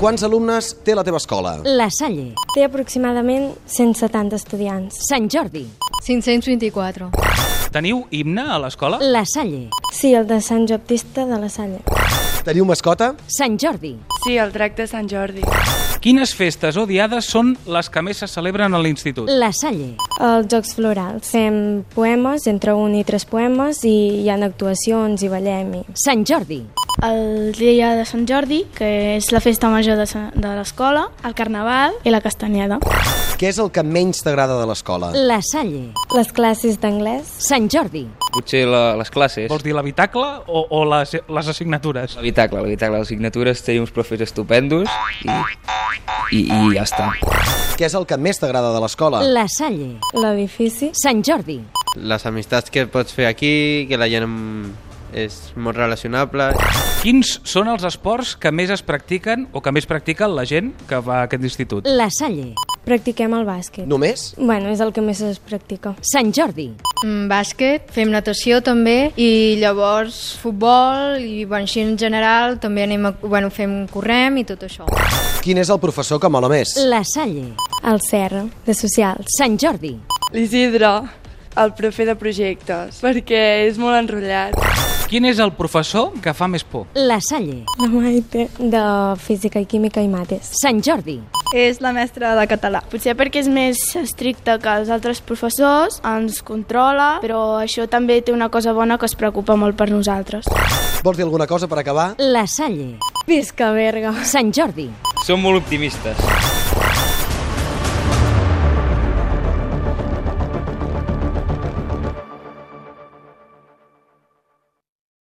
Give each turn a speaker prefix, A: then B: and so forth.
A: Quants alumnes té la teva escola?
B: La Salle,
C: Té aproximadament 170 estudiants.
B: Sant Jordi,
D: 524.
E: Teniu himne a l'escola?
B: La Salle,
C: Sí, el de Sant Baptista de la Salle.
A: Teniu mascota?
B: Sant Jordi,
F: Sí, el drac de Sant Jordi.
E: Quines festes o diades són les que més se celebren a l'institut?
B: La Salle,
C: Els Jocs Florals. Fem poemes, entre un i tres poemes, i hi ha actuacions i ballem. I...
B: Sant Jordi,
G: el dia de Sant Jordi, que és la festa major de, sa- de l'escola, el carnaval i la castanyeda.
A: Què és el que menys t'agrada de l'escola?
B: La Salle,
C: Les classes d'anglès,
B: Sant Jordi,
H: Potser la, les classes,
E: Vols dir l'habitacle o, o les, les assignatures?
H: l'habitacle, l'habitacle, les signatures, tenia uns profes estupendos i, i, i ja està.
A: Què és el que més t'agrada de l'escola?
B: La Salle,
C: l'edifici,
B: Sant Jordi,
I: les amistats que pots fer aquí, que la gent mm, és molt relacionable.
E: Quins són els esports que més es practiquen o que més practica la gent que va a aquest institut?
B: La Salle,
C: practiquem el bàsquet.
A: Només?
C: Bueno, és el que més es practica.
B: Sant Jordi,
D: Mm, bàsquet, fem natació també i llavors futbol i bueno, així en general també anem a, bueno, fem correm i tot això.
A: Quin és el professor que mola més?
B: La Salle,
C: El Serra, de Socials.
B: Sant Jordi,
F: L'Isidre, el profe de projectes, perquè és molt enrotllat.
E: Quin és el professor que fa més por?
B: La Salle,
C: La Maite, de Física i Química i Mates.
B: Sant Jordi,
G: És la mestra de català. Potser perquè és més estricta que els altres professors, ens controla, però això també té una cosa bona que es preocupa molt per nosaltres.
A: Vols dir alguna cosa per acabar?
B: La Salle,
C: Visca Berga!
B: Sant Jordi,
H: Som molt optimistes.